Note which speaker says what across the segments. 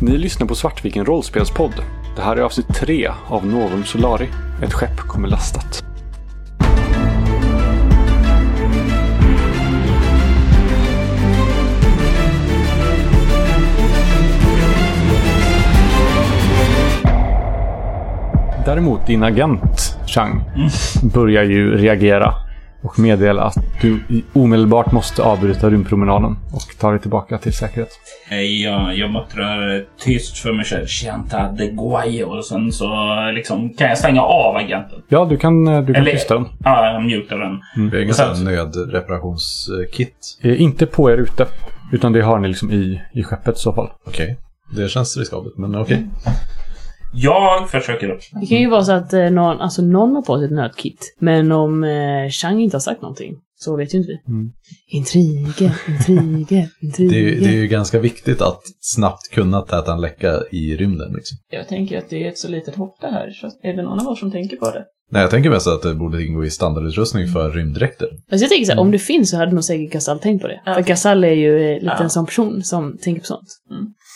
Speaker 1: Ni lyssnar på Svartviken rollspelspodd. Det här är avsnitt 3 av Novum Solari. Ett skepp kommer lastat. Däremot din agent, Chang, börjar ju reagera och meddela att du omedelbart måste avbryta rymdpromenaden och ta dig tillbaka till säkerhet.
Speaker 2: Nej, Jag, jag muttrar tyst för mig själv. Chanta de guayo. Och sen så liksom, kan jag stänga av agenten.
Speaker 1: Ja, du kan, eh, du kan
Speaker 2: Eller-
Speaker 1: tysta den.
Speaker 2: Ja, jag mutar den.
Speaker 3: Vi har
Speaker 2: Och
Speaker 3: inget
Speaker 2: sen-
Speaker 3: sånt nödreparationskit.
Speaker 1: Eh, inte på er ute. Utan det har ni liksom i, i skeppet i så fall.
Speaker 3: Okej. Det känns riskabelt, men
Speaker 4: Mm.
Speaker 3: okej.
Speaker 2: Jag försöker.
Speaker 5: Det kan ju vara så att eh, någon, alltså någon har på sig ett nötkit. Men om eh, Chang inte har sagt någonting så vet ju inte vi.
Speaker 1: Mm.
Speaker 5: Intriger, intriger, intriger.
Speaker 3: Det, är ju- det är ju ganska viktigt att snabbt kunna täta en läcka i rymden. Liksom.
Speaker 4: Jag tänker att det är ett så litet hopp det här, så att- är det någon av oss som tänker på det? Mm.
Speaker 3: Nej, jag tänker mest att det borde ingå i standardutrustning för rymddräkter.
Speaker 5: Alltså jag tänker så här,
Speaker 3: Mm.
Speaker 5: om det finns så hade nog säkert Gasall tänkt på det.
Speaker 4: Ja.
Speaker 5: För Gasall är ju eh, lite
Speaker 4: Ja. Mm.
Speaker 5: en sån person som tänker på sånt.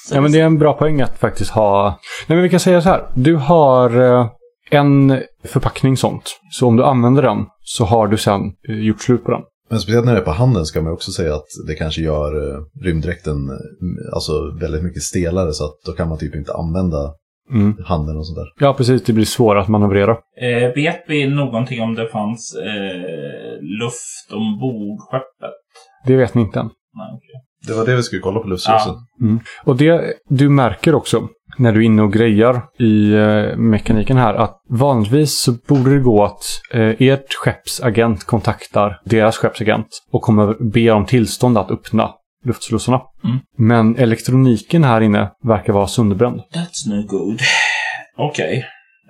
Speaker 4: Så
Speaker 1: Ja, men det är en bra poäng att faktiskt ha... Nej, men vi kan säga så här. Du har eh, en förpackning sånt. Så om du använder den så har du sen eh, gjort slut på den.
Speaker 3: Men speciellt när det är på handen ska man också säga att det kanske gör eh, rymddräkten eh, alltså, väldigt mycket stelare så att då kan man typ inte använda
Speaker 1: Mm.
Speaker 3: handen och sånt där.
Speaker 1: Ja, precis. Det blir svårare att manövrera.
Speaker 2: Eh, vet vi någonting om det fanns eh, luft ombord skeppet?
Speaker 1: Det vet ni inte än.
Speaker 2: Nej, okej.
Speaker 3: Det var det vi skulle kolla på luftslösen.
Speaker 1: Och det du märker också när du är inne och grejar i eh, mekaniken här att vanligtvis så borde det gå att eh, ert skepps agent kontaktar deras skeppsagent och kommer be om tillstånd att öppna luftslussarna.
Speaker 2: Mm.
Speaker 1: Men elektroniken här inne verkar vara sönderbränd.
Speaker 2: That's no good. Okej.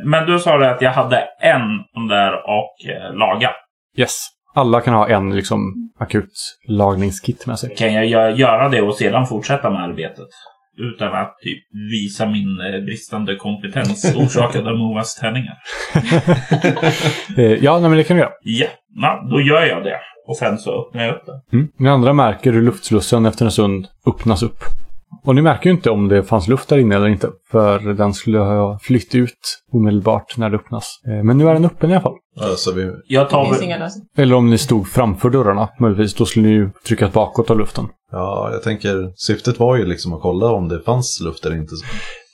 Speaker 2: Men du sa det att jag hade en sån där och eh, laga.
Speaker 1: Yes. Alla kan ha en liksom akut lagningskit med sig.
Speaker 2: Kan jag gö- göra det och sedan fortsätta med arbetet? Utan att typ visa min eh, bristande kompetens orsakad av Moas tärningar.
Speaker 1: Eh, ja, nej, men det kan du göra.
Speaker 2: Ja, na, då gör jag det. Och sen så öppnar jag upp det.
Speaker 1: Mm. Ni andra märker hur luftslussen efter en stund öppnas upp. Och ni märker ju inte om det fanns luft där inne eller inte. För den skulle ha flytt ut omedelbart när det öppnas. Eh, Men nu är den öppen i alla fall.
Speaker 3: Ja, så vi,
Speaker 2: Jag tar
Speaker 4: det finns
Speaker 2: väl...
Speaker 4: inga lösningar.
Speaker 1: Eller om ni stod framför dörrarna möjligtvis. Då skulle ni ju tryckat bakåt av luften.
Speaker 3: ja, jag tänker, syftet var ju liksom att kolla om det fanns luft eller inte.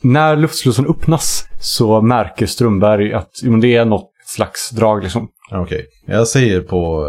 Speaker 1: När luftslussen öppnas så märker Strömberg att jo, men det är något slags drag liksom.
Speaker 3: Ja, Okej, jag säger på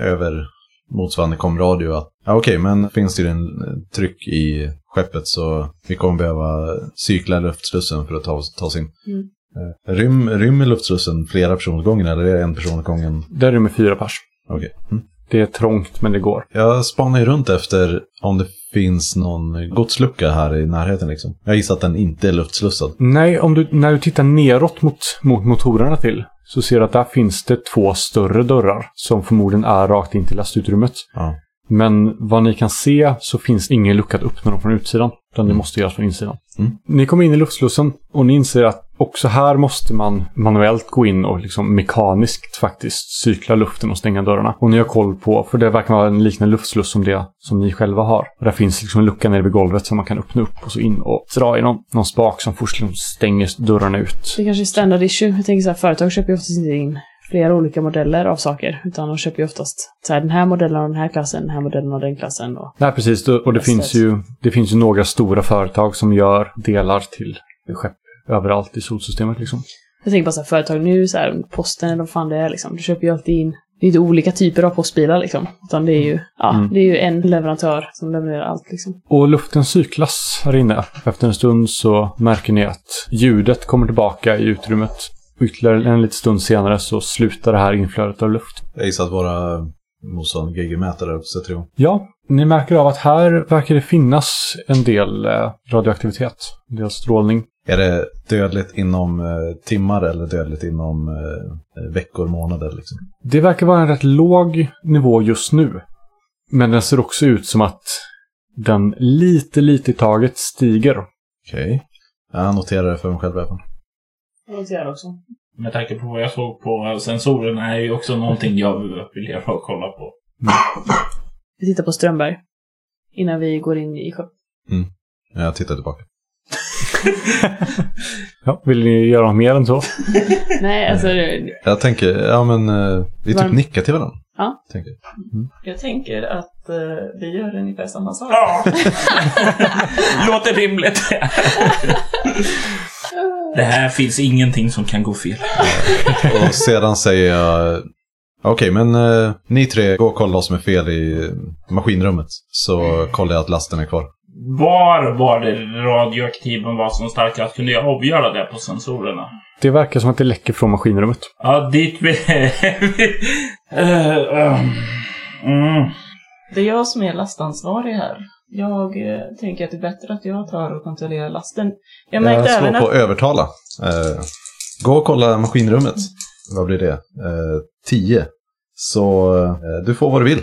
Speaker 3: eh, över motsvarande komradio att ja, okej, men finns det en eh, tryck i skeppet så vi kommer behöva cykla luftslussen för att ta oss, ta oss in.
Speaker 5: Mm.
Speaker 3: Eh, Rym, rymmer luftslussen flera personer åt gången eller är det en person åt gången?
Speaker 1: Där rymmer fyra pers.
Speaker 3: Okej. Mm.
Speaker 1: Det är trångt men det går.
Speaker 3: Jag spanar ju runt efter om det finns någon godslucka här i närheten liksom. Jag gissar att den inte är luftslussad.
Speaker 1: Nej, om du, när du tittar neråt mot, mot motorerna till så ser du att där finns det två större dörrar som förmodligen är rakt in till lastutrymmet.
Speaker 3: Ja.
Speaker 1: Men vad ni kan se så finns det ingen lucka att öppna dem från utsidan. Utan det måste göras från insidan.
Speaker 3: Mm.
Speaker 1: Ni kommer in i luftslussen och ni inser att också här måste man manuellt gå in och liksom mekaniskt faktiskt cykla luften och stänga dörrarna. Och ni har koll på, för det verkar vara en liknande luftsluss som det som ni själva har. Och där finns liksom en lucka nere vid golvet som man kan öppna upp och så in och dra i någon, någon spak som först liksom stänger dörrarna ut.
Speaker 5: Det kanske är standard issue. Jag tänker så här, företag köper ju oftast inte in flera olika modeller av saker. Utan de köper ju oftast så här, den här modellen av den här klassen, den här modellen av den klassen. Och
Speaker 1: Nej, precis. Och och det
Speaker 5: Precis.
Speaker 1: finns, ju, det finns ju några stora företag som gör delar till skepp överallt i solsystemet liksom.
Speaker 5: Jag tänker bara så här, företag nu, så här, posten eller vad fan det är liksom. Du köper ju alltid in, det är inte olika typer av postbilar liksom. Utan det är ju, ja,
Speaker 1: Mm.
Speaker 5: det är ju en leverantör som levererar allt liksom.
Speaker 1: Och luften cyklas här inne. Efter en stund så märker ni att ljudet kommer tillbaka i utrymmet. Ytterligare en liten stund senare så slutar det här inflödet av luft.
Speaker 3: Jag gissar att våra motsvarande GG-mätare också sätter igång.
Speaker 1: Ja, ni märker av att här verkar det finnas en del eh, radioaktivitet. En del strålning.
Speaker 3: Är det dödligt inom eh, timmar eller dödligt inom eh, veckor, månader? Liksom?
Speaker 1: Det verkar vara en rätt låg nivå just nu. Men den ser också ut som att den lite, lite i taget stiger.
Speaker 3: Okej. Jag noterar det för mig själv. även.
Speaker 5: Jag också.
Speaker 2: Med tanke på vad jag såg på sensorerna är ju också någonting jag vill leva och kolla på.
Speaker 5: Vi tittar på Strömberg. Innan vi går in i shop.
Speaker 3: Jag tittar tillbaka.
Speaker 1: Ja, vill ni göra något mer än så?
Speaker 5: Nej, alltså det-
Speaker 3: Jag tänker, ja men eh, vi typ
Speaker 5: Varm-
Speaker 3: nickar till varandra.
Speaker 5: Ja.
Speaker 3: Tänker. jag.
Speaker 4: Jag tänker att eh, vi gör ungefär samma sak.
Speaker 2: Ja. Låter rimligt. Det här finns ingenting som kan gå fel.
Speaker 3: Och sedan säger jag, okej men eh, ni tre, gå och kolla vad som är fel i eh, maskinrummet. Så kollar jag att lasten är kvar.
Speaker 2: Var var det radioaktiven var som starkast? Kunde jag avgöra det på sensorerna?
Speaker 1: Det verkar som att det läcker från maskinrummet.
Speaker 2: Ja, dit vi... Eh, ehm. mm.
Speaker 4: Det är jag som är lastansvarig här. Jag eh, tänker att det är bättre att jag tar och kontrollerar lasten. Jag märkte
Speaker 3: jag slår
Speaker 4: även
Speaker 3: på
Speaker 4: att...
Speaker 3: övertala. Eh, gå och kolla maskinrummet. Vad blir det? Eh, 10. Så eh, du får vad du vill.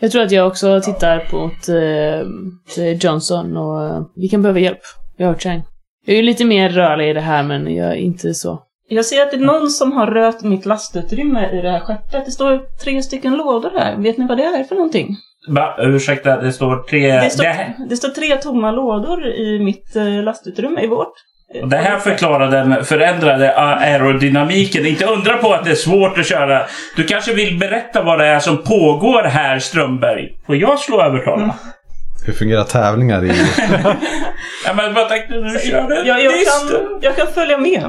Speaker 5: jag tror att jag också tittar mot eh, till Johnson och eh, vi kan behöva hjälp. Jag har hört Chang. Jag är ju lite mer rörlig i det här, men jag är inte så.
Speaker 4: Jag ser att det är någon som har rört mitt lastutrymme i det här skeppet. Det står tre stycken lådor här. Vet ni vad det är för någonting?
Speaker 2: Va, ursäkta, det står tre...
Speaker 4: det, står,
Speaker 2: Det, här-
Speaker 4: det står tre tomma lådor i mitt eh, lastutrymme, i vårt.
Speaker 2: och det här förklarar den förändrade a- aerodynamiken. Inte undra på att det är svårt att köra. Du kanske vill berätta vad det är som pågår här, Strömberg? Får jag slå övertala?
Speaker 4: Mm.
Speaker 3: Hur fungerar tävlingar i...
Speaker 2: Ja, men vad tänkte du? Körde
Speaker 4: Jag, jag, kan, jag kan följa med,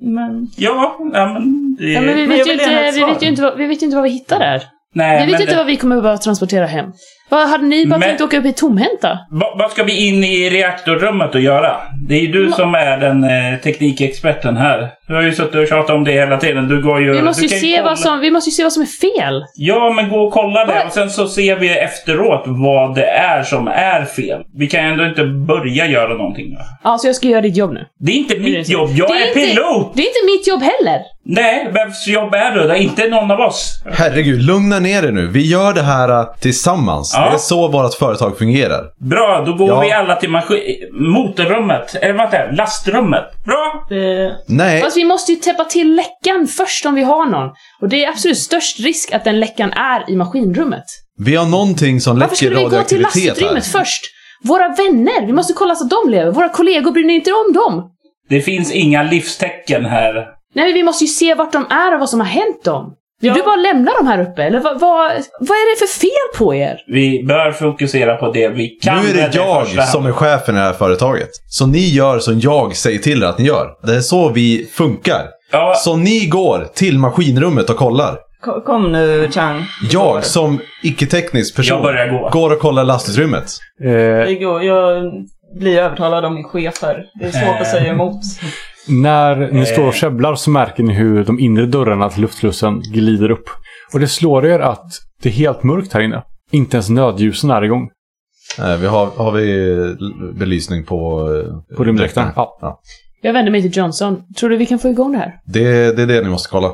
Speaker 4: men...
Speaker 2: Ja, ja, men... Det...
Speaker 5: Ja, men vi,
Speaker 4: Men
Speaker 5: vet
Speaker 4: jag
Speaker 5: ju
Speaker 4: vill gärna
Speaker 5: inte,
Speaker 4: ha
Speaker 5: vi,
Speaker 4: ett svar.
Speaker 5: vet ju inte vad, vi vet ju inte vad vi hittar där.
Speaker 2: Nej,
Speaker 5: vi vet
Speaker 2: men
Speaker 5: inte
Speaker 2: det-
Speaker 5: vad vi kommer behöva transportera hem. Vad hade ni bara
Speaker 2: Men-
Speaker 5: tänkt åka upp hit tomhänta?
Speaker 2: Vad vad ska vi in i reaktorrummet och göra? Det är ju du som är den eh, teknikexperten här. Du har ju suttit och tjatat om det hela tiden. Du går ju...
Speaker 5: Vi måste,
Speaker 2: du
Speaker 5: ju
Speaker 2: kan
Speaker 5: se
Speaker 2: kolla-
Speaker 5: vad som, vi måste ju se vad som är fel.
Speaker 2: Ja, men gå och kolla det och sen så ser vi efteråt vad det är som är fel. Vi kan ju ändå inte börja göra någonting. va?
Speaker 5: Ja, så jag ska göra ditt jobb nu.
Speaker 2: Det är inte
Speaker 5: det
Speaker 2: mitt
Speaker 5: så?
Speaker 2: jobb. Jag
Speaker 5: Det
Speaker 2: är,
Speaker 5: är inte-
Speaker 2: pilot!
Speaker 5: Det är inte mitt jobb heller.
Speaker 2: Nej, vems jobb är du? Det är inte någon av oss.
Speaker 3: Herregud, lugna ner er nu. Vi gör det här eh, tillsammans.
Speaker 2: Ja.
Speaker 3: Det är så vårt företag fungerar.
Speaker 2: Bra, då går
Speaker 3: Ja.
Speaker 2: vi alla till maskin... Motorrummet. Eller vänta, lastrummet. Bra!
Speaker 4: Det,
Speaker 3: Nej,
Speaker 5: Fast vi måste ju täppa till läckan först om vi har någon. Och det är absolut störst risk att den läckan är i maskinrummet.
Speaker 3: vi har någonting som
Speaker 5: Varför
Speaker 3: läcker
Speaker 5: skulle vi gå till
Speaker 3: radioaktivitet här.
Speaker 5: lastutrymmet först? Våra vänner! Vi måste kolla så att de lever. Våra kollegor bryr ni inte om dem.
Speaker 2: Det finns inga livstecken här.
Speaker 5: Nej, men vi måste ju se vart de är och vad som har hänt dem. Vill
Speaker 4: Ja.
Speaker 5: du bara lämna dem här uppe? Eller vad, vad, vad är det för fel på er?
Speaker 2: Vi bör fokusera på det vi kan.
Speaker 3: Nu är
Speaker 2: med
Speaker 3: det
Speaker 2: i första
Speaker 3: jag
Speaker 2: hand.
Speaker 3: som är chefen i det här företaget. Så ni gör som jag säger till er att ni gör. Det är så vi funkar.
Speaker 2: Ja,
Speaker 3: Så ni går till maskinrummet och kollar.
Speaker 4: ko- kom nu, Chang.
Speaker 3: Jag som icke-teknisk person
Speaker 2: Jag börjar gå.
Speaker 3: går och kollar lastutrymmet.
Speaker 1: Eh,
Speaker 4: Det går, jag blir övertalad av min chef här. Det är svårt att säga emot.
Speaker 1: när ni står och käbblar så märker ni hur de inre dörrarna till luftslussen glider upp. Och det slår er att det är helt mörkt här inne. Inte ens nödljusen är igång.
Speaker 3: Eh, Vi har, har vi eh, belysning på... eh,
Speaker 1: På rymddräkten? Ja.
Speaker 5: Jag vänder mig till Johnson. Tror du vi kan få igång det här?
Speaker 3: Det, det är det ni måste kolla.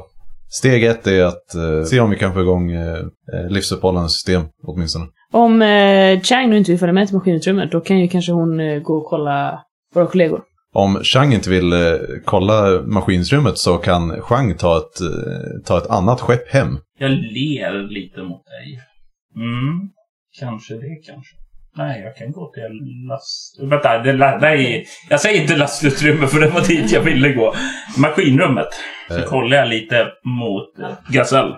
Speaker 3: Steg ett är att eh, se om vi kan få igång eh, eh, livsuppehållande system åtminstone.
Speaker 5: Om eh, Chang nu inte vill följa med till maskinutrymmet, då kan ju kanske hon eh, gå och kolla våra kollegor.
Speaker 3: Om Chang inte vill eh, kolla maskinsrummet så kan Chang ta ett, eh, ta ett annat skepp hem.
Speaker 2: jag ler lite mot dig. Mm, kanske det kanske. Nej, jag kan gå till last... Vänta, det la... nej. Jag säger inte lastutrymme för det var dit jag ville gå. Maskinrummet. Så
Speaker 3: Eh.
Speaker 2: kollar jag lite mot eh, Gasell.
Speaker 5: Eh,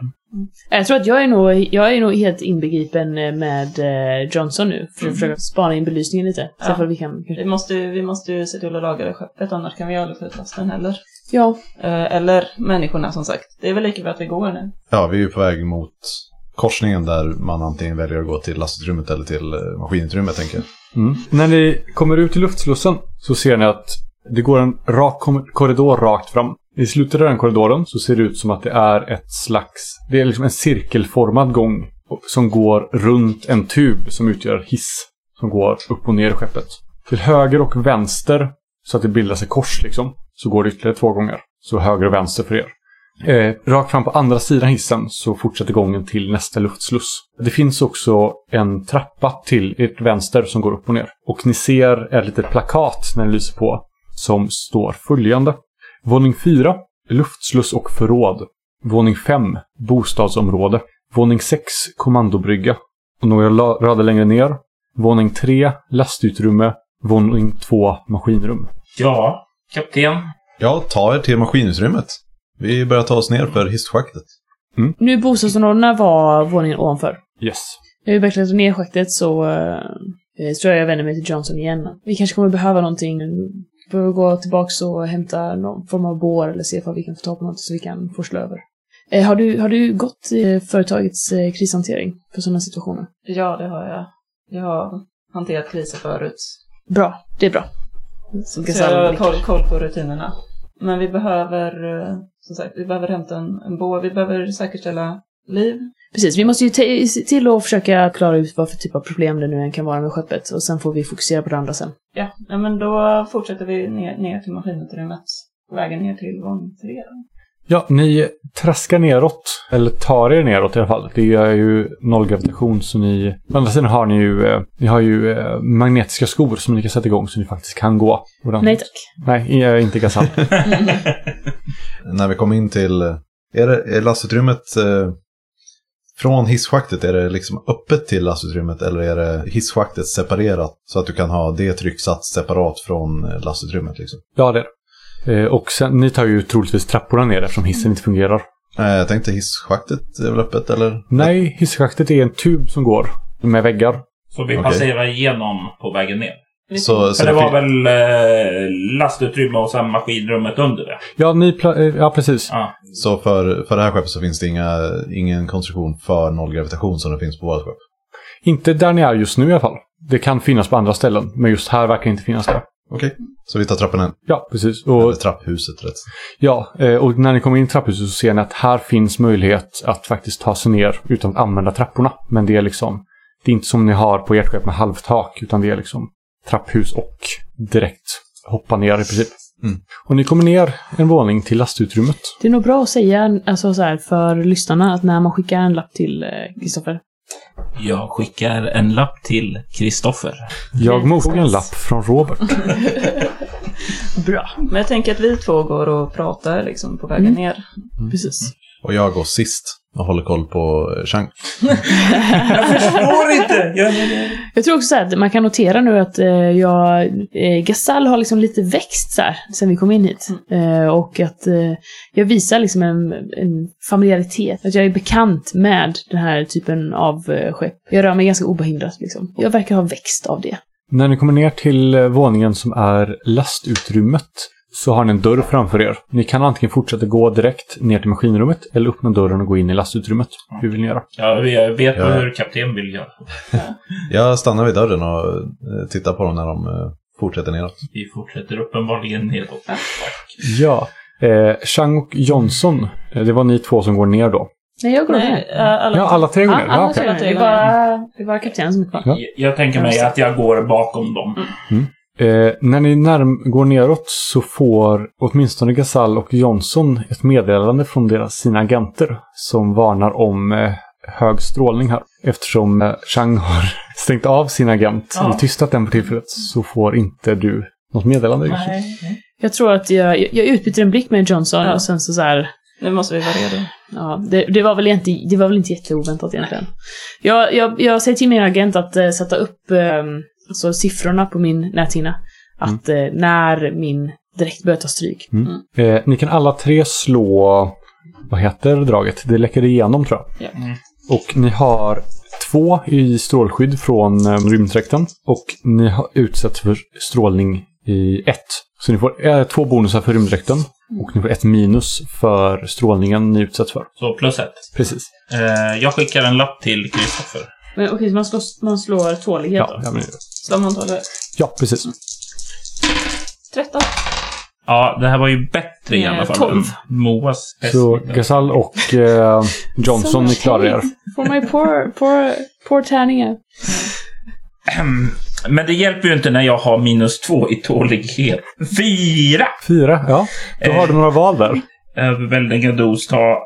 Speaker 5: Jag tror att jag är nog, jag är nog helt inbegripen eh, med eh, Johnson nu, för att försöka spana in belysningen lite. Så
Speaker 4: Mm. Ja.
Speaker 5: ifall vi kan...
Speaker 4: Vi måste, ju- vi måste ju se till att laga det skeppet, annars kan vi aldrig få ut lasten heller.
Speaker 5: Ja.
Speaker 4: Eh, eller människorna som sagt. Det är väl lika bra att vi går nu.
Speaker 3: Ja, vi är ju på väg mot korsningen där man antingen väljer att gå till lastutrymmet eller till eh, maskinutrymmet tänker jag.
Speaker 1: Mm. När ni kommer ut till luftslussen så ser ni att det går en rak kom- korridor rakt fram. I slutet av den korridoren så ser det ut som att det är ett slags... Det är liksom en cirkelformad gång som går runt en tub som utgör hiss. Som går upp och ner i skeppet. Till höger och vänster, så att det bildas ett kors liksom, så går det ytterligare två gånger. Så höger och vänster för er. Eh, rakt fram på andra sidan hissen så fortsätter gången till nästa luftsluss. Det finns också en trappa till ert vänster som går upp och ner. Och ni ser ett litet plakat när ni lyser på som står följande. Våning 4, luftsluss och förråd. Våning 5, bostadsområde. Våning 6, kommandobrygga. Och några la- rader längre ner. Våning 3, lastutrymme. våning två maskinrum.
Speaker 2: Ja, kapten.
Speaker 3: Ja, ta er till maskinutrymmet. Vi börjar ta oss ner för hisschaktet.
Speaker 5: Nu bostadsområdena var våningen ovanför.
Speaker 1: Yes.
Speaker 5: När vi verkligen tog ner schaktet så eh, eh, tror jag jag vänder mig till Johnson igen. Vi kanske kommer behöva någonting. Vi behöver gå tillbaks och hämta någon form av bår eller se om vi kan få tag på något så vi kan forsla över. Eh, har, du, har du gått i företagets eh, krishantering för sådana situationer?
Speaker 4: Ja, det har jag. Jag har hanterat kriser förut.
Speaker 5: Bra, det är bra. Så
Speaker 4: Så jag har koll, koll på rutinerna. Men vi behöver, eh, som sagt, vi behöver hämta en, en båt. Vi behöver säkerställa liv.
Speaker 5: Precis, vi måste ju te- se till att försöka klara ut vad för typ av problem det nu än kan vara med skeppet och sen får vi fokusera på det andra sen.
Speaker 4: Ja, ja men då fortsätter vi ner, ner till maskinutrymmet. På vägen ner till våning tre.
Speaker 1: Ja, ni traskar neråt, eller tar er neråt i alla fall. Det är ju noll gravitation så ni... Å andra sidan har ni ju, eh, ni har ju eh, magnetiska skor som ni kan sätta igång så ni faktiskt kan gå. ordentligt.
Speaker 5: Nej tack.
Speaker 1: Nej, jag är inte Gazal.
Speaker 3: När vi kom in till... eh, Är, det, är lastutrymmet... Eh, från hisschaktet, är det liksom öppet till lastutrymmet eller är det hisschaktet separerat? Så att du kan ha det trycksatt separat från eh, lastutrymmet liksom.
Speaker 1: ja, det är det. Eh, Och sen, ni tar ju troligtvis trapporna ner eftersom hissen inte fungerar.
Speaker 3: Eh, jag tänkte hisschaktet är väl öppet eller?
Speaker 1: Nej, hisschaktet är en tub som går med väggar.
Speaker 2: Så vi
Speaker 3: Okej.
Speaker 2: passerar igenom på vägen ner.
Speaker 3: Så, så
Speaker 2: För det var
Speaker 3: fin-
Speaker 2: väl eh, lastutrymme och sen maskinrummet under det.
Speaker 1: Ja, ni pla- eh, ja precis.
Speaker 2: Ja.
Speaker 3: Så för, för det här skeppet så finns det inga, ingen konstruktion för nollgravitation som det finns på vårt skepp.
Speaker 1: Inte där ni är just nu i alla fall. Det kan finnas på andra ställen, men just här verkar det inte finnas det.
Speaker 3: Okej, så vi tar trappan än.
Speaker 1: Ja, precis.
Speaker 3: Eller
Speaker 1: Och,
Speaker 3: trapphuset rätt.
Speaker 1: ja, eh, och när ni kommer in i trapphuset så ser ni att här finns möjlighet att faktiskt ta sig ner utan att använda trapporna. Men det är liksom, det är inte som ni har på ert skepp med halvtak, utan det är liksom trapphus och direkt hoppa ner i princip.
Speaker 3: Mm.
Speaker 1: Och ni kommer ner en våning till lastutrymmet.
Speaker 5: Det är nog bra att säga alltså, så här, för lyssnarna att när man skickar en lapp till eh, Kristoffer.
Speaker 2: Jag skickar en lapp till Kristoffer.
Speaker 1: Jag mottog en lapp från Robert.
Speaker 5: bra.
Speaker 4: Men jag tänker att vi två går och pratar liksom på vägen
Speaker 5: Mm.
Speaker 4: ner.
Speaker 5: Precis.
Speaker 3: Och jag går sist och håller koll på eh, Chang.
Speaker 2: Jag förstår inte! Jag,
Speaker 5: Jag tror också så här, att man kan notera nu att eh, jag, eh, Gasall har liksom lite växt så här, sen vi kom in hit. Eh, och att eh, jag visar liksom en, en familjaritet, att jag är bekant med den här typen av eh, skepp. Jag rör mig ganska obehindrat liksom. Jag verkar ha växt av det.
Speaker 1: När ni kommer ner till eh, våningen som är lastutrymmet så har ni en dörr framför er. Ni kan antingen fortsätta gå direkt ner till maskinrummet eller öppna dörren och gå in i lastutrymmet. Hur vill ni göra?
Speaker 2: jag, jag vet
Speaker 3: Ja.
Speaker 2: hur kapten vill göra.
Speaker 3: Jag stannar vid dörren och eh, tittar på dem när de eh, fortsätter neråt.
Speaker 2: Vi fortsätter uppenbarligen nedåt.
Speaker 1: Ja. Eh, Chang och Johnson, eh, det var ni två som går ner då.
Speaker 5: Nej, jag går
Speaker 4: Nej,
Speaker 5: Nej.
Speaker 4: äh, alla,
Speaker 1: Ja, alla tre går
Speaker 5: Ja,
Speaker 1: ner. Ja,
Speaker 5: alla
Speaker 1: okej.
Speaker 5: tre. Det är bara, det är bara kaptenen som är kvar.
Speaker 1: Ja.
Speaker 2: Jag, jag tänker mig att jag går bakom dem.
Speaker 1: eh, när ni närm- går neråt så får åtminstone Gasall och Johnson ett meddelande från deras, sina agenter som varnar om eh, hög strålning här. Eftersom eh, Chang har stängt av sin agent,
Speaker 2: Ja.
Speaker 1: eller tystat den för tillfället, så får inte du något meddelande. just nu.
Speaker 4: Nej, nej.
Speaker 5: Jag tror att jag, jag- jag utbyter en blick med Johnson
Speaker 4: Ja.
Speaker 5: och sen så, så här,
Speaker 4: Nu måste vi vara redo.
Speaker 5: Ja, det, det, var väl inte, det var väl inte jätteoväntat egentligen. Jag, jag, jag säger till min agent att eh, sätta upp eh, alltså siffrorna på min näthinna. Att
Speaker 1: Mm.
Speaker 5: eh, när min direktböter tar stryk.
Speaker 1: Eh, ni kan alla tre slå, vad heter draget? Det läcker igenom tror jag.
Speaker 4: Ja.
Speaker 2: Mm.
Speaker 1: Och ni har två i strålskydd från eh, rymddräkten och ni har utsatts för strålning i ett. Så ni får eh, två bonusar för rymddräkten och ni får ett minus för strålningen ni utsätts för.
Speaker 2: Så plus ett.
Speaker 1: Precis.
Speaker 2: Eh, jag skickar en lapp till Kristoffer.
Speaker 5: Men okej, så man slår, man slår tålighet
Speaker 1: Ja,
Speaker 5: då?
Speaker 1: ja, men,
Speaker 4: Slår man tolv?
Speaker 1: ja precis.
Speaker 4: 13.
Speaker 2: Ja, det här var ju bättre i
Speaker 4: Eh,
Speaker 2: alla fall.
Speaker 4: tolv.
Speaker 2: Moas test.
Speaker 1: Så Gasall och eh, Johnson, ni klarar er.
Speaker 5: For my poor, poor, poor tärningar.
Speaker 2: Ehm, Men det hjälper ju inte när jag har minus två i tålighet. Fyra!
Speaker 1: Fyra, ja. Då har du några val där.
Speaker 2: Överväldigande dos, ta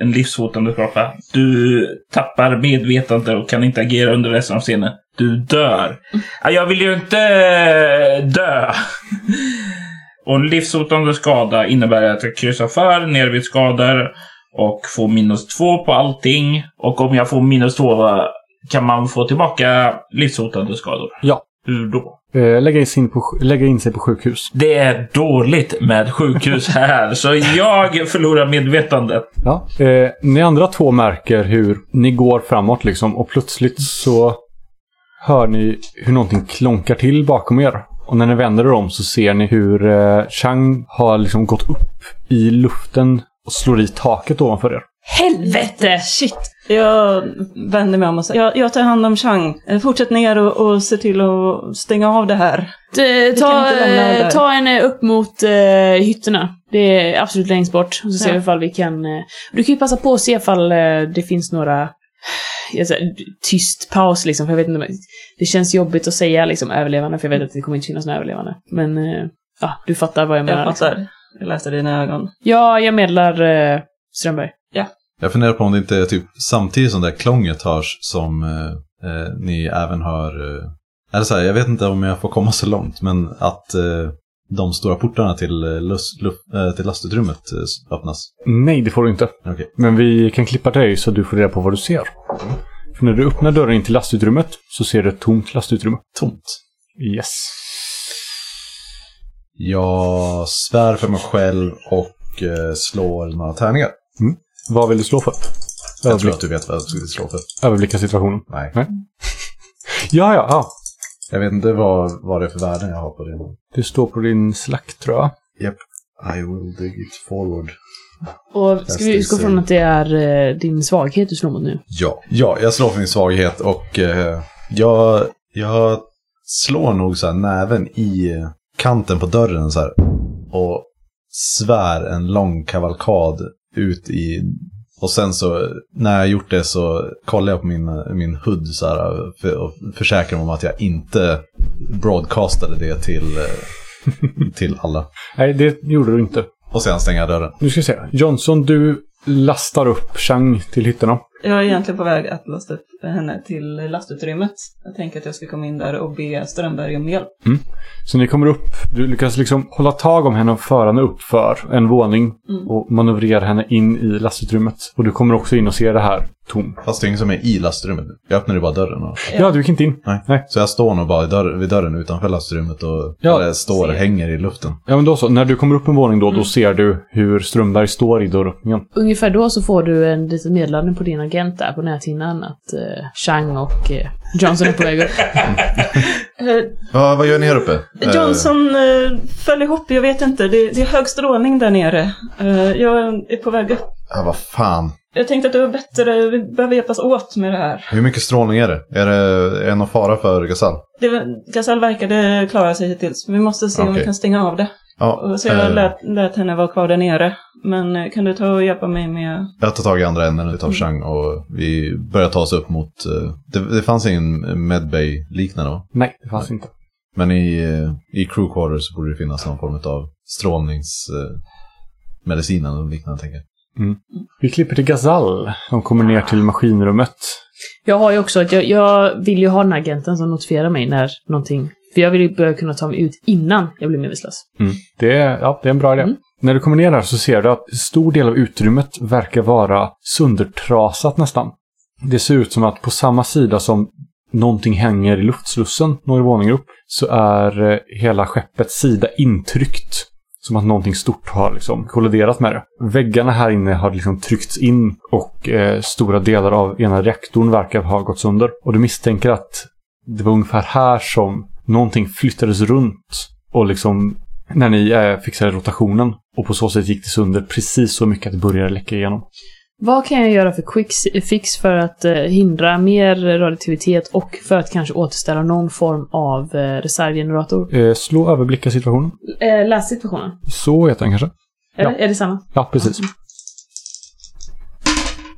Speaker 2: en livshotande skapa. Du tappar medvetande och kan inte agera under resten av scenen. Du dör. Ja, Jag vill ju inte eh, dö. Och en livshotande skada innebär att jag kryssar för nervskador och får minus två på allting. Och om jag får minus två eh, kan man få tillbaka livshotande skador.
Speaker 1: Ja,
Speaker 2: Hur då?
Speaker 1: Eh, lägga, in sig in på, sj- lägga in sig på sjukhus.
Speaker 2: Det är dåligt med sjukhus här, så jag förlorar medvetandet.
Speaker 1: Ja. Eh, ni andra två märker hur ni går framåt liksom och plötsligt så hör ni hur någonting klonkar till bakom er. Och när ni vänder er om så ser ni hur eh, Chang har liksom gått upp i luften och slår i taket ovanför er.
Speaker 5: Helvete!
Speaker 4: Shit! Jag vänder mig om och säger, jag, jag tar hand om Chang. Eh, Fortsätt ner och, och se till att stänga av det här.
Speaker 5: Eh,
Speaker 4: kan
Speaker 5: Ta,
Speaker 4: inte lämna den
Speaker 5: eh,
Speaker 4: där.
Speaker 5: ta henne upp mot eh, hytterna. Det är absolut längst bort. Och så ser
Speaker 4: Ja.
Speaker 5: vi ifall vi kan... Eh, du kan ju passa på att se ifall eh, det finns några... Jag säger, tyst paus liksom, för jag vet inte. om- Det känns jobbigt att säga liksom överlevande, för jag vet att det kommer inte finnas några överlevande. Men eh, ja, du fattar vad jag menar. liksom.
Speaker 4: Jag fattar. Jag läser dina ögon.
Speaker 5: Ja, jag meddelar eh, Strömberg.
Speaker 3: Jag funderar på om det inte är typ samtidigt som det här klånget hörs som eh, eh, ni även hör... Eh, eller så här, jag vet inte om jag får komma så långt, men att eh, de stora portarna till, eh, lust, luft, eh, till lastutrymmet eh, s- öppnas.
Speaker 1: Nej, det får du inte.
Speaker 3: Okej.
Speaker 1: Men vi kan klippa dig så du får reda på vad du ser. För när du öppnar dörren in till lastutrymmet så ser du ett tomt lastutrymme.
Speaker 3: Tomt.
Speaker 1: Yes.
Speaker 3: Jag svär för mig själv och eh, slår några tärningar.
Speaker 1: Vad vill du slå för?
Speaker 3: Jag tror
Speaker 1: Överblick,
Speaker 3: att du vet vad jag skulle slå för.
Speaker 1: överblicka situationen.
Speaker 3: Nej.
Speaker 1: Ja, ja, ja.
Speaker 3: Jag vet inte vad, vad det är för värden jag har på det.
Speaker 1: Det står på din slack tror jag.
Speaker 3: I will dig it forward.
Speaker 5: Och ska vi utgå från att det är eh, din svaghet du slår mot nu?
Speaker 3: Ja, ja jag slår för min svaghet och eh, jag, jag slår nog så här näven i eh, kanten på dörren så här och svär en lång kavalkad ut i... Och sen så, när jag gjort det så kollar jag på min, min hud så här för, och försäkrar mig om att jag inte broadcastade det till, eh, till alla.
Speaker 1: Nej, det gjorde du inte.
Speaker 3: Och sen stänger jag dörren.
Speaker 1: Nu ska vi se. Johnson, du lastar upp Chang till hytterna.
Speaker 4: Jag är egentligen på väg att lasta upp henne till lastutrymmet. Jag tänker att jag ska komma in där och be Strömberg om hjälp.
Speaker 1: Så ni kommer upp. Du lyckas liksom hålla tag om henne och föra henne upp för en våning och manövrera henne in i lastutrymmet. Och du kommer också in och ser det här tom.
Speaker 3: Fast det är ingen som är i lastrummet. Jag öppnar ju bara dörren. Och...
Speaker 1: Ja, du gick inte in.
Speaker 3: Så jag står nog bara i dörr, vid dörren utanför lastrummet och
Speaker 1: Ja.
Speaker 3: eller står och hänger i luften.
Speaker 1: Ja, men då så. När du kommer upp en våning då, då ser du hur Strömberg står i dörröppningen.
Speaker 5: Ungefär då så får du en litet meddelande på din agent där på näthinnan att eh, Chang och eh, Johnson är på väg upp.
Speaker 3: Ja, vad gör ni här uppe?
Speaker 4: Johnson, eh, föll ihop. Jag vet inte. Det, det är hög strålning där nere. Eh, jag är på väg upp.
Speaker 3: Eh, ja, vad fan.
Speaker 4: Jag tänkte att det var bättre. Vi behöver hjälpas åt med det här.
Speaker 3: Hur mycket strålning är det? Är det, är det någon fara för Gasall?
Speaker 4: Det, Gasall verkade klara sig hittills. Vi måste se om vi
Speaker 3: Okej.
Speaker 4: kan stänga av det.
Speaker 3: Ja,
Speaker 4: Och Så jag
Speaker 3: eh,
Speaker 4: lät, lät henne vara kvar där nere. Men eh, kan du ta och hjälpa mig med...
Speaker 3: jag tar tag i andra änden utav Chang och vi börjar ta oss upp mot... eh, det, det fanns ingen Medbay-liknande va?
Speaker 1: Nej, det fanns inte.
Speaker 3: Men i, eh, i crew quarters så borde det finnas någon form av strålningsmedicin eller liknande tänker jag.
Speaker 1: Vi klipper till Gazal. De kommer ner till maskinrummet.
Speaker 5: Jag har ju också att jag, jag vill ju ha den här agenten som notifierar mig när någonting... För jag vill ju börja kunna ta mig ut innan jag blir medvetslös.
Speaker 1: Det är, ja, det är en bra idé.
Speaker 5: Mm.
Speaker 1: När du kommer ner här så ser du att en stor del av utrymmet verkar vara söndertrasat nästan. Det ser ut som att på samma sida som någonting hänger i luftslussen några våningar upp så är eh, hela skeppets sida intryckt. Som att någonting stort har liksom kolliderat med det. Väggarna här inne har liksom tryckts in och eh, stora delar av ena reaktorn verkar ha gått sönder. Och du misstänker att det var ungefär här som någonting flyttades runt och liksom när ni eh, fixade rotationen. Och på så sätt gick det sönder precis så mycket att det började läcka igenom.
Speaker 5: Vad kan jag göra för quick fix för att eh, hindra mer radioaktivitet och för att kanske återställa någon form av eh, reservgenerator?
Speaker 1: Eh, slå överblicka situationen.
Speaker 5: Eh, läs situationen.
Speaker 1: Så heter den kanske.
Speaker 5: Eller
Speaker 1: Ja.
Speaker 5: är det samma?
Speaker 1: Ja, precis.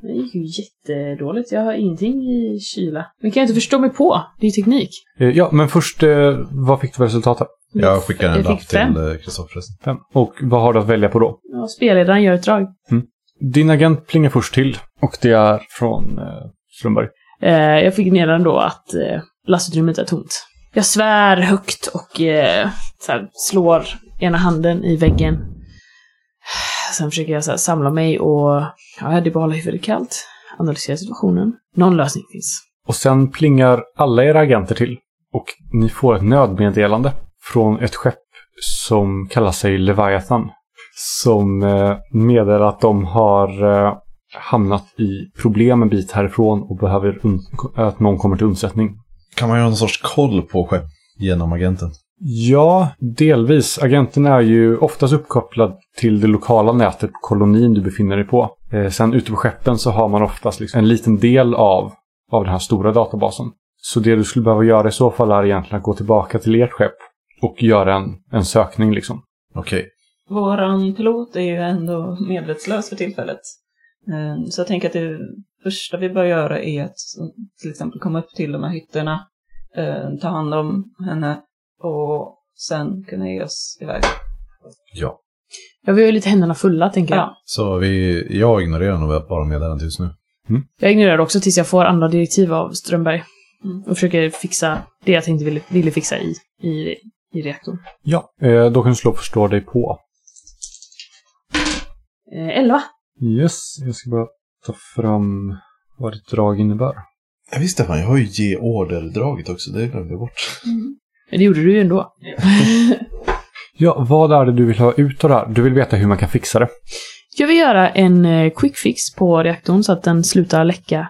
Speaker 5: Det gick ju jättedåligt. Jag har ingenting i kyla. Men kan jag inte förstå mig på. Det är ju teknik.
Speaker 1: Eh, ja, men först, eh, vad fick du för resultat här?
Speaker 3: Jag skickar en
Speaker 5: Jag
Speaker 3: lapp
Speaker 5: fick fem.
Speaker 3: till eh, Kristoffer.
Speaker 1: Fem. Och vad har du att välja på då?
Speaker 5: Ja, spelledaren gör ett drag.
Speaker 1: Din agent plingar först till. Och det är från eh, Strömberg.
Speaker 5: Eh, jag fick meddelande då att eh, lastutrymmet är tomt. Jag svär högt och eh, så här, slår ena handen i väggen. Sen försöker jag så här, samla mig och ja, det är bara att hålla huvudet kallt. Analysera situationen. Någon lösning finns.
Speaker 1: Och sen plingar alla era agenter till. Och ni får ett nödmeddelande från ett skepp som kallar sig Leviathan. Som eh, meddelar att de har eh, hamnat i problem en bit härifrån och behöver un- att någon kommer till undsättning.
Speaker 3: Kan man ju ha någon sorts koll på skepp genom agenten?
Speaker 1: Ja, delvis. Agenten är ju oftast uppkopplad till det lokala nätet på kolonin du befinner dig på. Eh, sen ute på skeppen så har man oftast liksom en liten del av, av den här stora databasen. Så det du skulle behöva göra i så fall är egentligen att gå tillbaka till ert skepp och göra en, en sökning liksom.
Speaker 3: Okej.
Speaker 4: Våran pilot är ju ändå medvetslös för tillfället. Ehm, Så jag tänker att det första vi bör göra är att till exempel komma upp till de här hytterna, ehm, ta hand om henne och sen kunna ge oss iväg.
Speaker 3: Ja.
Speaker 5: Ja, vi har ju lite händerna fulla, tänker jag.
Speaker 4: Ja.
Speaker 3: Så vi, jag ignorerar nog bara meddelandet just nu.
Speaker 5: Jag ignorerar också tills jag får andra direktiv av Strömberg.
Speaker 4: Mm.
Speaker 5: Och försöker fixa det jag tänkte ville, ville fixa i, i, i reaktorn.
Speaker 1: Ja. Eh, då kan du slå och förstå dig på.
Speaker 5: Eh, 11.
Speaker 1: Yes, jag ska bara ta fram vad ditt drag innebär.
Speaker 3: Ja, visst Stefan, jag har ju ge order-draget också. Det glömde jag bort.
Speaker 5: Men Det gjorde du ju ändå.
Speaker 1: Ja, vad är det du vill ha ut av det här? Du vill veta hur man kan fixa det.
Speaker 5: Jag vill göra en eh, quick fix på reaktorn så att den slutar läcka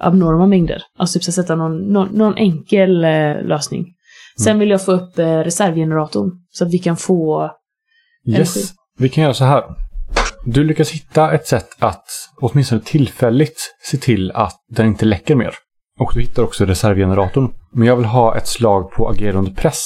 Speaker 5: abnorma mängder. Alltså typ så att sätta någon, någon, någon enkel eh, lösning. Sen vill jag få upp eh, reservgeneratorn så att vi kan få...
Speaker 1: Yes,
Speaker 5: Energi.
Speaker 1: vi kan göra så här. Du lyckas hitta ett sätt att åtminstone tillfälligt se till att den inte läcker mer. Och du hittar också reservgeneratorn. Men jag vill ha ett slag på agera under press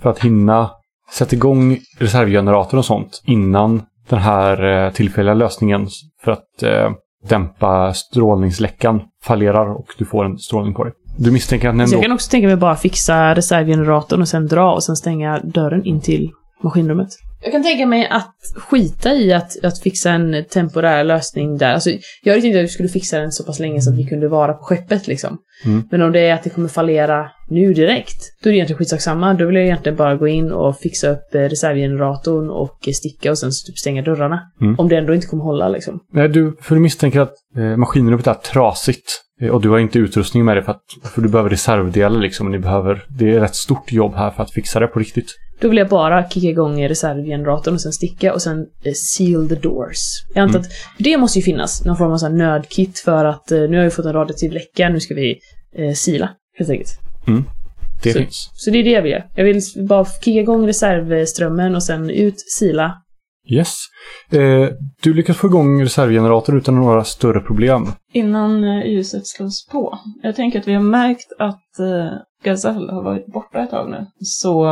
Speaker 1: för att hinna sätta igång reservgeneratorn och sånt innan den här eh, tillfälliga lösningen för att eh, dämpa strålningsläckan fallerar och du får en strålning på dig. Du misstänker att den
Speaker 5: Så Alltså, jag
Speaker 1: ändå...
Speaker 5: kan också tänka mig bara fixa reservgeneratorn och sen dra och sen stänga dörren in till maskinrummet. Jag kan tänka mig att skita i att, att fixa en temporär lösning där. Alltså, jag tänkte att vi skulle fixa den så pass länge så att vi kunde vara på skeppet liksom.
Speaker 1: Mm.
Speaker 5: Men om det är att det kommer fallera nu direkt, då är det egentligen skitsamma. Då vill jag egentligen bara gå in och fixa upp eh, reservgeneratorn och eh, sticka och sen typ stänga dörrarna.
Speaker 1: Mm.
Speaker 5: Om det ändå inte kommer hålla liksom.
Speaker 1: Nej, du, för du misstänker att eh, maskinrummet är trasigt. eh, Och du har inte utrustning med det för att för du behöver reservdelar liksom. och Ni behöver, det är rätt stort jobb här för att fixa det på riktigt.
Speaker 5: Då vill jag bara kicka igång reservgeneratorn och sen sticka och sen eh, seal the doors. Jag antar att det måste ju finnas någon form av så här nödkit för att eh, nu har vi fått en radioaktiv läcka, nu ska vi eh, sila helt enkelt.
Speaker 1: Det
Speaker 5: Så-
Speaker 1: finns.
Speaker 5: Så det är det jag vill göra. Jag vill s- bara kicka igång reservströmmen och sen ut, sila.
Speaker 1: Yes. Eh, du lyckas få igång reservgeneratorn utan några större problem.
Speaker 4: Innan eh, ljuset slås på. Jag tänker att vi har märkt att eh, Gazelle har varit borta ett tag nu. Så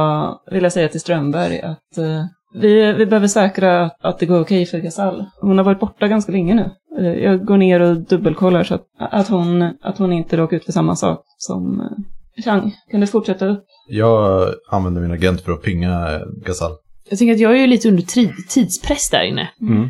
Speaker 4: vill jag säga till Strömberg att eh, vi, vi behöver säkra att, att det går okej för Gazelle. Hon har varit borta ganska länge nu. Eh, jag går ner och dubbelkollar så att, att, hon, att hon inte råkar ut för samma sak som eh, Chang. kan du fortsätta upp?
Speaker 3: Jag använder min agent för att pinga eh, Gazal.
Speaker 5: Jag tänker att jag är ju lite under tri- tidspress där inne.
Speaker 1: Mm.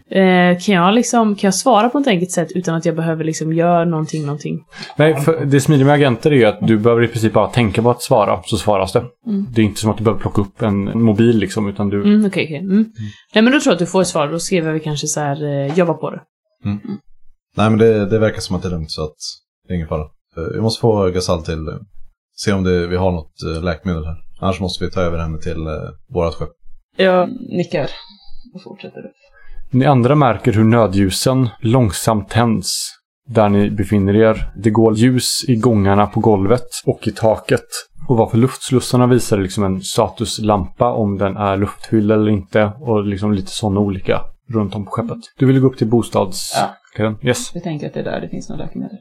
Speaker 5: Eh, kan, jag liksom, kan jag svara på ett enkelt sätt utan att jag behöver liksom göra någonting, någonting?
Speaker 1: Nej, för det smidiga med agenter är ju att du behöver i princip bara tänka på att svara, så svaras det.
Speaker 4: Mm.
Speaker 1: Det är inte som att du behöver plocka upp en en mobil liksom, utan du...
Speaker 5: Mm, okej, okej. Mm. Nej, men då tror jag att du får ett svar. Då skriver vi kanske så här, eh, jobba på det.
Speaker 3: Nej, men det, det verkar som att det är lugnt så att det är ingen fara. Eh, Vi måste få Gazal till... eh, Se om det, vi har något eh, läkemedel här. Annars måste vi ta över henne till eh, vårat skepp.
Speaker 4: Jag nickar och fortsätter upp.
Speaker 1: Ni andra märker hur nödljusen långsamt tänds där ni befinner er. Det går ljus i gångarna på golvet och i taket. Och varför luftslussarna visar liksom en statuslampa om den är luftfylld eller inte och liksom lite sådana olika runt om på skeppet. Du vill gå upp till bostads...
Speaker 4: Ja.
Speaker 1: Yes.
Speaker 4: Vi tänker att det är där det finns några läkemedel.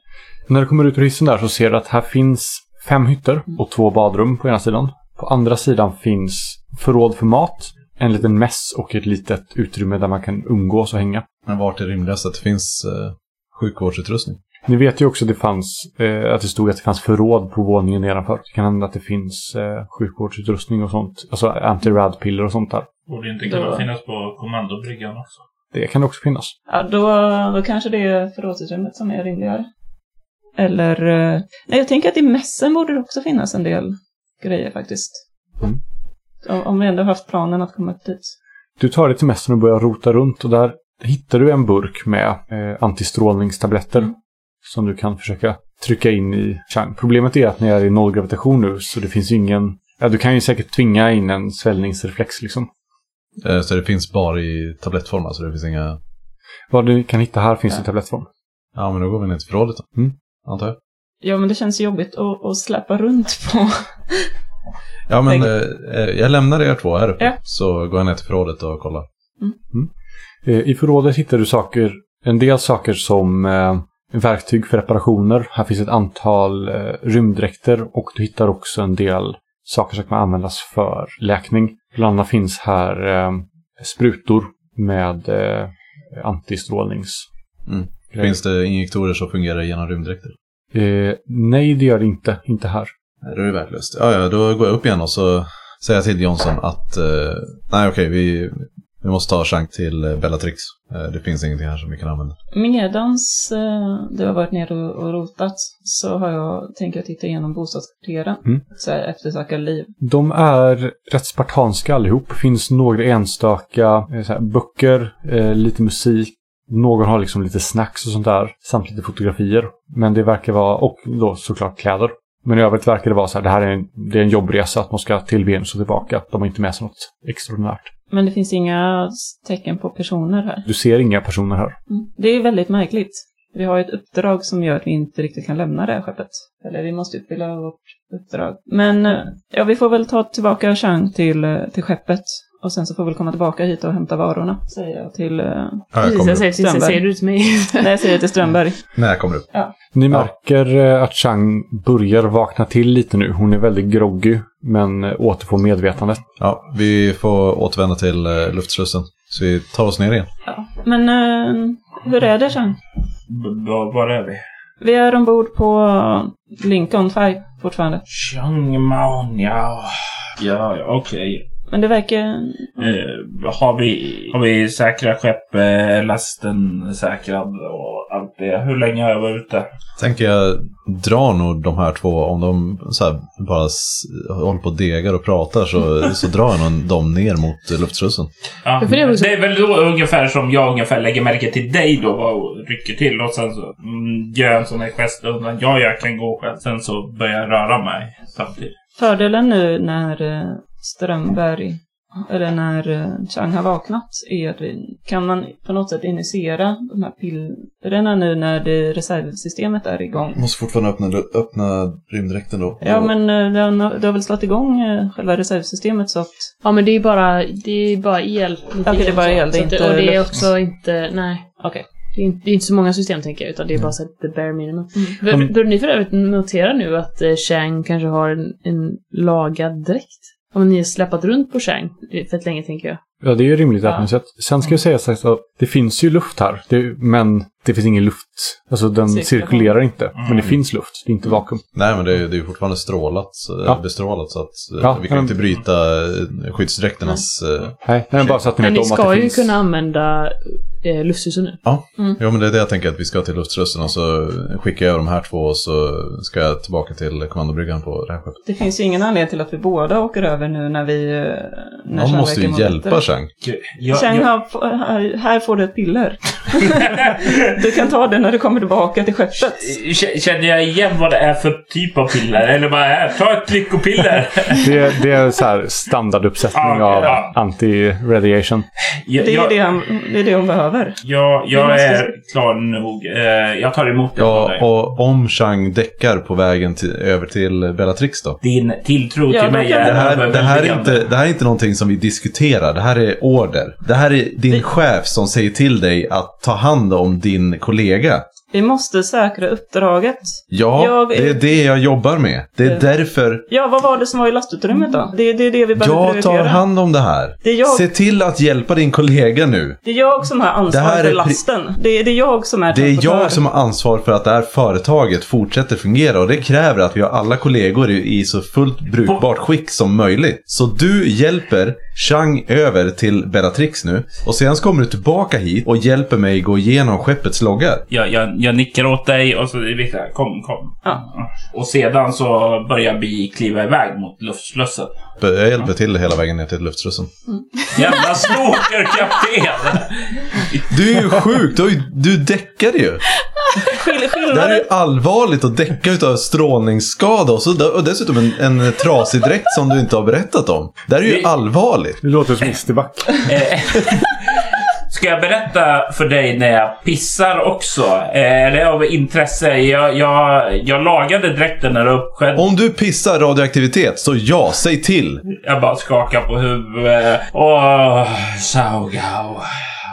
Speaker 1: När du kommer ut ur hissen där så ser du att här finns fem hytter och två badrum på ena sidan. På andra sidan finns förråd för mat, en liten mess och ett litet utrymme där man kan umgås och hänga.
Speaker 3: Men vart är rimligast att det finns eh, sjukvårdsutrustning?
Speaker 1: Ni vet ju också att det, fanns, eh, att det stod att det fanns förråd på våningen nedanför. Det kan hända att det finns eh, sjukvårdsutrustning och sånt. Alltså anti-rad-piller och sånt där.
Speaker 2: Borde inte
Speaker 4: Då-
Speaker 2: kunna finnas på kommandobryggan också.
Speaker 1: Det kan också finnas.
Speaker 4: Ja, då, då kanske det är förrådsutrymmet som är rimligare. Eller... eh, Nej, jag tänker att i mässen borde det också finnas en del grejer faktiskt.
Speaker 1: Mm.
Speaker 4: Om, om vi ändå haft planen att komma upp dit.
Speaker 1: Du tar dig till mässan och börjar rota runt och där hittar du en burk med eh, antistrålningstabletter. Som du kan försöka trycka in i Chang. Problemet är att ni är i nollgravitation nu så det finns ju ingen... Ja, du kan ju säkert tvinga in en svällningsreflex liksom.
Speaker 3: Eh, Så det finns bara i tablettform, alltså det finns inga...
Speaker 1: Vad du kan hitta här finns i
Speaker 4: Ja.
Speaker 1: tablettform.
Speaker 3: Ja, men då går vi ner till förrådet då.
Speaker 1: Mm.
Speaker 3: Antar jag.
Speaker 4: Ja, men det känns jobbigt att, att släpa runt på.
Speaker 3: Ja, men
Speaker 4: Tänk-
Speaker 3: eh, eh, jag lämnar er två här uppe.
Speaker 4: Ja.
Speaker 3: Så går jag ner till förrådet och kollar.
Speaker 1: Eh, I förrådet hittar du saker, en del saker som eh, verktyg för reparationer. Här finns ett antal eh, rymddräkter och du hittar också en del saker som kan användas för läkning. Bland annat finns här eh, sprutor med eh, antistrålnings...
Speaker 3: Mm.
Speaker 1: grejer.
Speaker 3: Finns det injektorer som fungerar genom rymddräkter?
Speaker 1: Eh, nej, det gör det inte. Inte här.
Speaker 3: Nej, då är det värdelöst. Ja, ja, då går jag upp igen och så säger jag till Jonsson att eh, nej, okej, vi, vi måste ta Shank till eh, Bellatrix. Eh, det finns ingenting här som vi kan använda.
Speaker 4: Medans eh, du har varit nere och, och rotat så har jag, tänker jag titta igenom bostadskvarteren.
Speaker 1: Mm.
Speaker 4: Så här, eftersöka liv.
Speaker 1: De är rätt spartanska allihop. Finns några enstaka eh, så här, böcker, eh, lite musik. Någon har liksom lite snacks och sånt där. Samt lite fotografier. Men det verkar vara, och då såklart kläder. Men i övrigt verkar det vara så här, det här är en, det är en jobbresa att man ska till Venus och tillbaka. De har inte med sig något extraordinärt.
Speaker 4: Men det finns inga s- tecken på personer här.
Speaker 1: Du ser inga personer här.
Speaker 4: Mm. Det är väldigt märkligt. Vi har ett uppdrag som gör att vi inte riktigt kan lämna det här skeppet. Eller vi måste uppfylla vårt uppdrag. Men eh, ja, vi får väl ta tillbaka Chang till, eh, till skeppet. Och sen så får vi väl komma tillbaka hit och hämta varorna, säger jag till... eh,
Speaker 3: Ja, jag
Speaker 5: Precis,
Speaker 3: kommer
Speaker 5: jag
Speaker 3: upp.
Speaker 5: säger, precis, jag säger du till mig.
Speaker 4: Nej, jag säger till Strömberg.
Speaker 3: Nej, jag kommer upp.
Speaker 1: Ni
Speaker 3: Ja.
Speaker 1: märker eh, att Chang börjar vakna till lite nu. Hon är väldigt groggy, men eh, återfår medvetandet.
Speaker 3: Ja, vi får återvända till eh, luftslussen. Så vi tar oss ner igen.
Speaker 4: Ja. Men eh, hur är det Chang?
Speaker 2: B- b- Var är vi?
Speaker 4: Vi är ombord på Lincoln Färg fortfarande.
Speaker 2: Chiang Maon, ja. Ja, ja, okej.
Speaker 4: Men det verkar...
Speaker 2: Eh, har, vi, har vi säkra skepp, eh, lasten säkrad och allt det? Hur länge har jag varit ute?
Speaker 3: Tänker jag dra nog de här två, om de så här bara s- håller på och degar och pratar så, så drar jag nog dem ner mot eh, luftslussen.
Speaker 2: Ja.
Speaker 5: Ja, för det är väl så-
Speaker 2: det är väl då ungefär som jag ungefär lägger märke till dig då och rycker till och sen så mm, gör jag en sån här gest undan. Ja, jag kan gå själv. Sen så börjar jag röra mig samtidigt.
Speaker 4: Fördelen nu när eh, Strömberg, eller när eh, Chang har vaknat, är att vi kan man på något sätt initiera de här pillerna nu när det reservsystemet är igång.
Speaker 3: Måste fortfarande öppna, öppna rymddräkten då.
Speaker 4: Ja, men eh, den har- du har väl slagit igång eh, själva reservsystemet så att...
Speaker 5: Ja, men det är bara, det är bara el. lite
Speaker 4: Okej, det är bara
Speaker 5: så.
Speaker 4: el, det är
Speaker 5: Så att-
Speaker 4: inte
Speaker 5: Och det är
Speaker 4: luft.
Speaker 5: också inte, nej.
Speaker 4: Okej.
Speaker 5: Det är inte, det är inte så många system tänker jag, utan det är
Speaker 1: Mm.
Speaker 5: bara så här, the bare minimum.
Speaker 1: Ja,
Speaker 5: Mm.
Speaker 1: men-
Speaker 5: Bör ni för övrigt notera nu att eh, Chang kanske har en, en lagad dräkt? Om ni har släpat runt på Chang för ett länge tänker jag.
Speaker 1: Ja, det är ju rimligt att
Speaker 5: Ja. Mm.
Speaker 1: man sett. Sen ska jag säga så här, att det finns ju luft här, det, men det finns ingen luft. Alltså den
Speaker 4: Cirkulation.
Speaker 1: cirkulerar inte, men det
Speaker 2: Mm.
Speaker 1: finns luft. Det är inte vakuum.
Speaker 3: Nej, men det är ju det är ju fortfarande strålat, så-
Speaker 1: Ja.
Speaker 3: bestrålat så att eh,
Speaker 1: Ja,
Speaker 3: vi kan
Speaker 1: men-
Speaker 3: inte bryta eh, skyddsdräkternas... eh,
Speaker 1: Nej, men bara så att ni
Speaker 5: Men
Speaker 1: vet
Speaker 5: ni
Speaker 1: om att
Speaker 5: ska
Speaker 1: det
Speaker 5: ju
Speaker 1: finns.
Speaker 5: kunna använda eh, lufthusen nu.
Speaker 4: Mm.
Speaker 3: Jo, men det är det jag tänker att vi ska till luftrösten och så skickar jag de här två och så ska jag tillbaka till kommandobryggan på det här skeppet.
Speaker 4: Det finns ju ingen anledning till att vi båda åker över nu när vi... eh, När
Speaker 3: Någon
Speaker 4: Chang
Speaker 3: måste
Speaker 4: verkar må
Speaker 3: ju hjälpa
Speaker 4: bättre.
Speaker 3: Chang.
Speaker 2: Gud, jag-
Speaker 4: Chang,
Speaker 2: jag-
Speaker 4: Här, här, här får du ett piller. du kan ta det när du kommer tillbaka till skeppet.
Speaker 2: Eh, K- Känner jag igen vad det är för typ av piller? Eller vad är Ta ett lyckopiller!
Speaker 1: Det, det är så här standarduppsättning
Speaker 2: Ja, okej,
Speaker 1: av
Speaker 2: ja.
Speaker 1: anti-radiation.
Speaker 2: Jag,
Speaker 4: Det är
Speaker 2: jag,
Speaker 4: det, han, det är det hon behöver.
Speaker 2: jag,
Speaker 4: Vi
Speaker 2: jag
Speaker 4: måste-
Speaker 2: är klar nog. Eh, Jag tar emot det av
Speaker 3: Ja,
Speaker 2: dig.
Speaker 3: och om Chang däckar på vägen till, över till Bellatrix då?
Speaker 2: Din tilltro
Speaker 4: Ja,
Speaker 2: till
Speaker 4: då
Speaker 2: mig
Speaker 4: kan-
Speaker 2: är
Speaker 3: Det här, det, här är
Speaker 2: överväldigande.
Speaker 3: inte, det här är inte någonting som vi diskuterar, det här är order. Det här är din chef som säger till dig att ta hand om din kollega.
Speaker 4: Vi måste säkra uppdraget.
Speaker 3: Ja,
Speaker 4: Jag-
Speaker 3: det är det jag jobbar med. Det är
Speaker 4: Eh.
Speaker 3: därför
Speaker 4: Ja, vad var det som var i lastutrymmet då? Det, det är det vi behöver
Speaker 3: jag
Speaker 4: prioritera.
Speaker 3: tar hand om det här.
Speaker 4: Det är jag.
Speaker 3: Se till att hjälpa din kollega nu.
Speaker 4: Det är jag som har
Speaker 3: Det här
Speaker 4: ansvar
Speaker 3: är
Speaker 4: för
Speaker 3: pri-
Speaker 4: lasten. Det är, det är jag som är
Speaker 3: Det är
Speaker 4: transportör.
Speaker 3: jag som har ansvar för att det här företaget fortsätter fungera och det kräver att vi har alla kollegor i, i så fullt brukbart skick som möjligt. Så du hjälper Chang över till Bellatrix nu och sen så kommer du tillbaka hit och hjälper mig gå igenom skeppets loggar.
Speaker 2: Jag, jag, jag nickar åt dig och så är vi så här, kom, kom.
Speaker 4: Ja.
Speaker 2: Och sedan så börjar vi kliva iväg mot luftslussen.
Speaker 3: Jag hjälper till hela vägen ner till luftslussen.
Speaker 2: Jävla stalkerkapten!
Speaker 3: Du är ju sjuk! Du, har ju- du däckade ju! Det här är ju allvarligt att däcka utav strålningsskada och, så, och dessutom en, en trasig dräkt som du inte har berättat om. Det här är ju
Speaker 2: Det-
Speaker 3: allvarligt.
Speaker 1: Det låter som Isterback.
Speaker 2: Eh, Ska jag berätta för dig när jag pissar också? Eh, Eller av intresse? Jag, jag, jag lagade dräkten när det uppskedde.
Speaker 3: Om du pissar radioaktivitet, så ja, säg till.
Speaker 2: Jag bara skakar på huvudet. Åh, Saugau.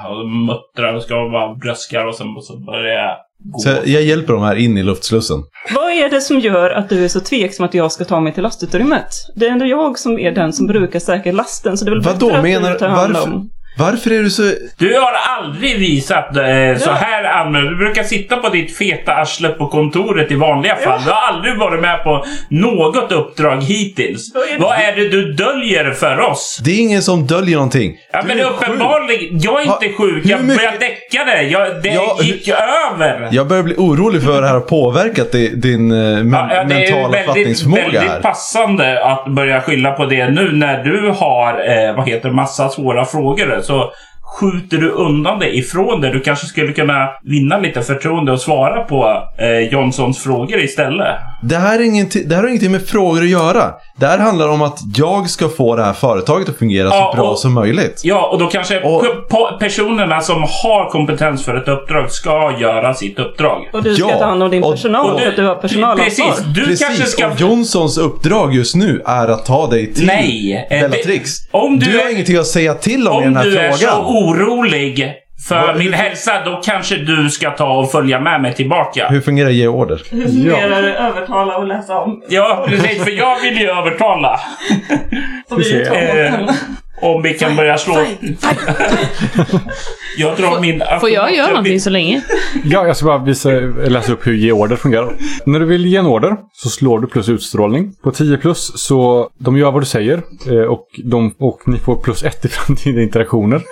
Speaker 2: Och muttrar och ska bara bröskar och sen så börjar jag gå.
Speaker 3: Så jag, jag hjälper dem här in i luftslussen.
Speaker 4: Vad är det som gör att du är så tveksam att jag ska ta mig till lastutrymmet? Det är ändå jag som är den som brukar säkra lasten, så det är väl
Speaker 3: Vadå,
Speaker 4: bättre
Speaker 3: menar
Speaker 4: att
Speaker 3: du?
Speaker 4: du tar hand
Speaker 3: Varför,
Speaker 4: om...
Speaker 3: varför är du så...
Speaker 2: Du har aldrig visat eh, så här annorlunda. Du brukar sitta på ditt feta arsle på kontoret i vanliga fall. Du har aldrig varit med på något uppdrag hittills.
Speaker 4: Vad är det-
Speaker 2: Vad är det du döljer för oss?
Speaker 3: Det är ingen som döljer någonting.
Speaker 2: Ja,
Speaker 3: Du
Speaker 2: men
Speaker 3: är sjuk.
Speaker 2: uppenbarligen. Jag är
Speaker 3: Ha,
Speaker 2: inte sjuk.
Speaker 3: hur
Speaker 2: Jag,
Speaker 3: mycket-
Speaker 2: jag däckade. Jag, det
Speaker 3: Ja,
Speaker 2: gick över.
Speaker 3: Jag börjar bli orolig för vad det här har påverkat di- din eh, men,
Speaker 2: Ja, ja, det är
Speaker 3: mentala
Speaker 2: väldigt,
Speaker 3: fattningsförmåga
Speaker 2: väldigt
Speaker 3: här.
Speaker 2: passande att börja skylla på det nu när du har, eh, vad heter det, massa svåra frågor. Så skjuter du undan det ifrån dig. Du kanske skulle kunna vinna lite förtroende och svara på eh, Johnsons frågor istället.
Speaker 3: Det här, är ingenting, det här har ingenting med frågor att göra. Det här handlar om att jag ska få det här företaget att fungera
Speaker 2: Ja,
Speaker 3: så bra
Speaker 2: och-
Speaker 3: som möjligt.
Speaker 2: Ja, och då kanske
Speaker 3: Och-
Speaker 2: pe- personerna som har kompetens för ett uppdrag ska göra sitt uppdrag.
Speaker 4: Och du ska
Speaker 3: Ja,
Speaker 4: ta hand om din
Speaker 3: och-
Speaker 4: personal
Speaker 2: och-
Speaker 4: för att du har personalansvar.
Speaker 2: Precis, du kanske
Speaker 3: Precis,
Speaker 2: ska...
Speaker 3: och Johnsons uppdrag just nu är att ta dig till
Speaker 2: Nej, eh,
Speaker 3: Bellatrix.
Speaker 2: det- om du
Speaker 3: du har
Speaker 2: är-
Speaker 3: ingenting att säga till om, i
Speaker 2: Om
Speaker 3: den här
Speaker 2: du är så
Speaker 3: frågan.
Speaker 2: orolig för
Speaker 3: Vad-
Speaker 2: min hälsa, då kanske du ska ta och följa med mig tillbaka.
Speaker 3: Hur fungerar ge order?
Speaker 4: Hur
Speaker 1: fungerar
Speaker 4: det övertala och läsa om?
Speaker 2: Ja, precis. För jag vill ju övertala.
Speaker 4: Som
Speaker 1: vi tar
Speaker 2: Eh, om vi kan börja slå... Jag drar min...
Speaker 5: Får jag göra någonting så länge?
Speaker 1: Ja, jag ska bara visa, läsa upp hur ge order fungerar. När du vill ge en order så slår du plus utstrålning. På 10 plus så de gör vad du säger eh, och, de, och ni får plus 1 i framtida interaktioner.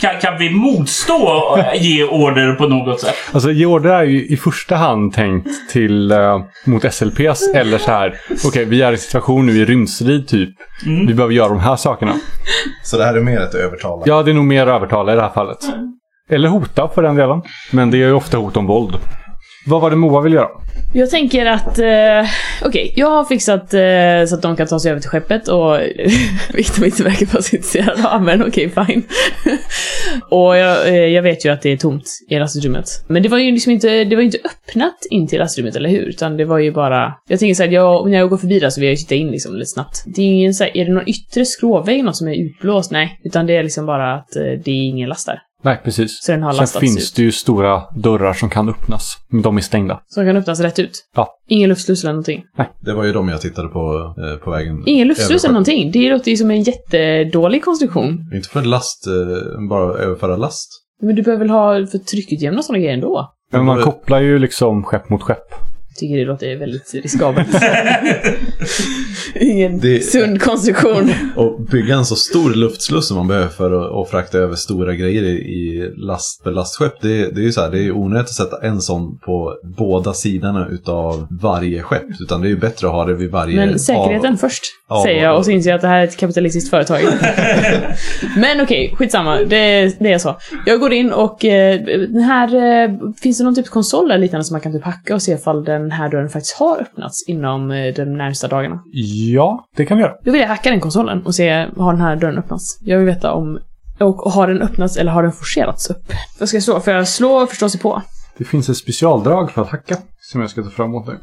Speaker 2: kan, kan vi motstå och ge order på något sätt?
Speaker 1: Alltså ge order är ju i första hand tänkt till eh, mot SLPs eller så här. Okej, vi är i en situation nu i rymdstrid typ.
Speaker 5: Mm.
Speaker 1: Vi behöver göra de här sakerna.
Speaker 3: Så det här är mer ett övertala.
Speaker 1: Ja, det är nog mer övertala i det här fallet. Eller hota för den delen. Men det är ju ofta hot om våld. Vad var det Moa ville göra?
Speaker 5: Jag tänker att... Eh, Okej, jag har fixat eh, så att de kan ta sig över till skeppet och Victor inte verkar vara så intresserad. Ja, men okej, fine. och jag, eh, jag vet ju att det är tomt i lastrutrymmet. Men det var ju liksom inte, det var ju inte öppnat in till lastrummet, eller hur? Utan det var ju bara... Jag tänker såhär, jag, när jag går förbi där så vill jag ju titta in liksom lite snabbt. Det är ju ingen så här, är det någon yttre skråvägg något som är utblåst? Nej, utan det är liksom bara att eh, det är ingen last där.
Speaker 1: Nej, precis.
Speaker 5: Så den har
Speaker 1: Sen
Speaker 5: lastats
Speaker 1: finns
Speaker 5: ut.
Speaker 1: det ju stora dörrar som kan öppnas. Men de är stängda.
Speaker 5: Som kan öppnas rätt ut.
Speaker 1: Ja.
Speaker 5: Ingen luftsluss eller någonting.
Speaker 3: Det var ju de jag tittade på eh, på vägen.
Speaker 5: Ingen luftsluss eller
Speaker 3: över.
Speaker 5: någonting. Det låter ju som en jättedålig konstruktion.
Speaker 3: Inte för last, eh, bara överföra last.
Speaker 5: Men du behöver väl ha för tryckutjämna sådana grejer ändå?
Speaker 1: Men man
Speaker 3: Men-
Speaker 1: kopplar ju liksom skepp mot skepp.
Speaker 5: Jag tycker det låter väldigt riskabelt. Ingen
Speaker 3: Det-
Speaker 5: sund konstruktion.
Speaker 3: Och bygga en så stor luftsluss som man behöver för att, att frakta över stora grejer i, i last, för lastskepp. Det, det är ju så här, det är ju onödigt att sätta en sån på båda sidorna utav varje skepp. Utan det är ju bättre att ha det vid varje...
Speaker 5: Men säkerheten först,
Speaker 3: Ja.
Speaker 5: säger jag och så inser jag att det här är ett kapitalistiskt företag. Men okej, skitsamma. Det, det är så. Jag går in och eh, den här, eh, finns det någon typ konsol eller liknande som man kan typ hacka och se ifall den här dörren faktiskt har öppnats inom eh, de närmsta dagarna?
Speaker 1: Ja, det kan vi göra.
Speaker 5: Då vill jag hacka den konsolen och se, har den här dörren öppnats? Jag vill veta om... Och har den öppnats eller har den forcerats upp? Vad ska jag slå? Får jag slå förstå sig på?
Speaker 1: Det finns ett specialdrag för att hacka. Som jag ska ta fram åt dig.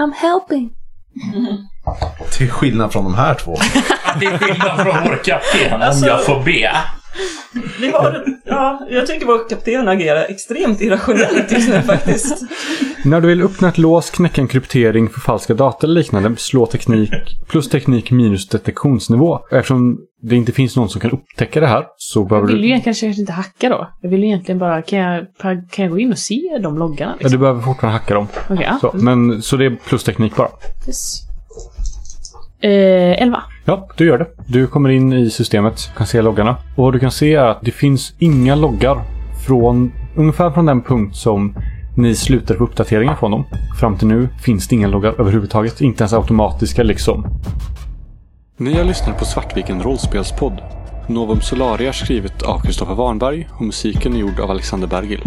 Speaker 5: I'm helping.
Speaker 3: Till skillnad från de här två.
Speaker 2: Det är skillnad från vår kapten,
Speaker 4: Alltså-
Speaker 2: om jag får be.
Speaker 4: Vi har, ja, jag tycker vår kapten agerar extremt irrationellt just nu faktiskt.
Speaker 1: När du vill öppna ett lås, knäcka en kryptering, förfalska data eller liknande, slå teknik plus teknik minus detektionsnivå. Eftersom det inte finns någon som kan upptäcka det här så
Speaker 5: Jag
Speaker 1: behöver
Speaker 5: vill ju
Speaker 1: du...
Speaker 5: egentligen kanske inte hacka då. Jag vill ju egentligen bara, kan jag, kan jag gå in och se de loggarna?
Speaker 1: Ja,
Speaker 5: Liksom?
Speaker 1: du behöver fortfarande hacka dem.
Speaker 5: Okej,
Speaker 1: Så,
Speaker 5: ja.
Speaker 1: men, så det är plus teknik bara.
Speaker 5: Yes. Eh, 11.
Speaker 1: Ja, du gör det. Du kommer in i systemet, kan se loggarna. Och vad du kan se är att det finns inga loggar från ungefär från den punkt som ni slutar på uppdateringen från dem. Fram till nu finns det inga loggar överhuvudtaget. Inte ens automatiska liksom. Ni har lyssnat på Svartviken rollspelspodd. Novum Solaria skrivet av Kristoffer Warnberg och musiken är gjord av Alexander Bergil.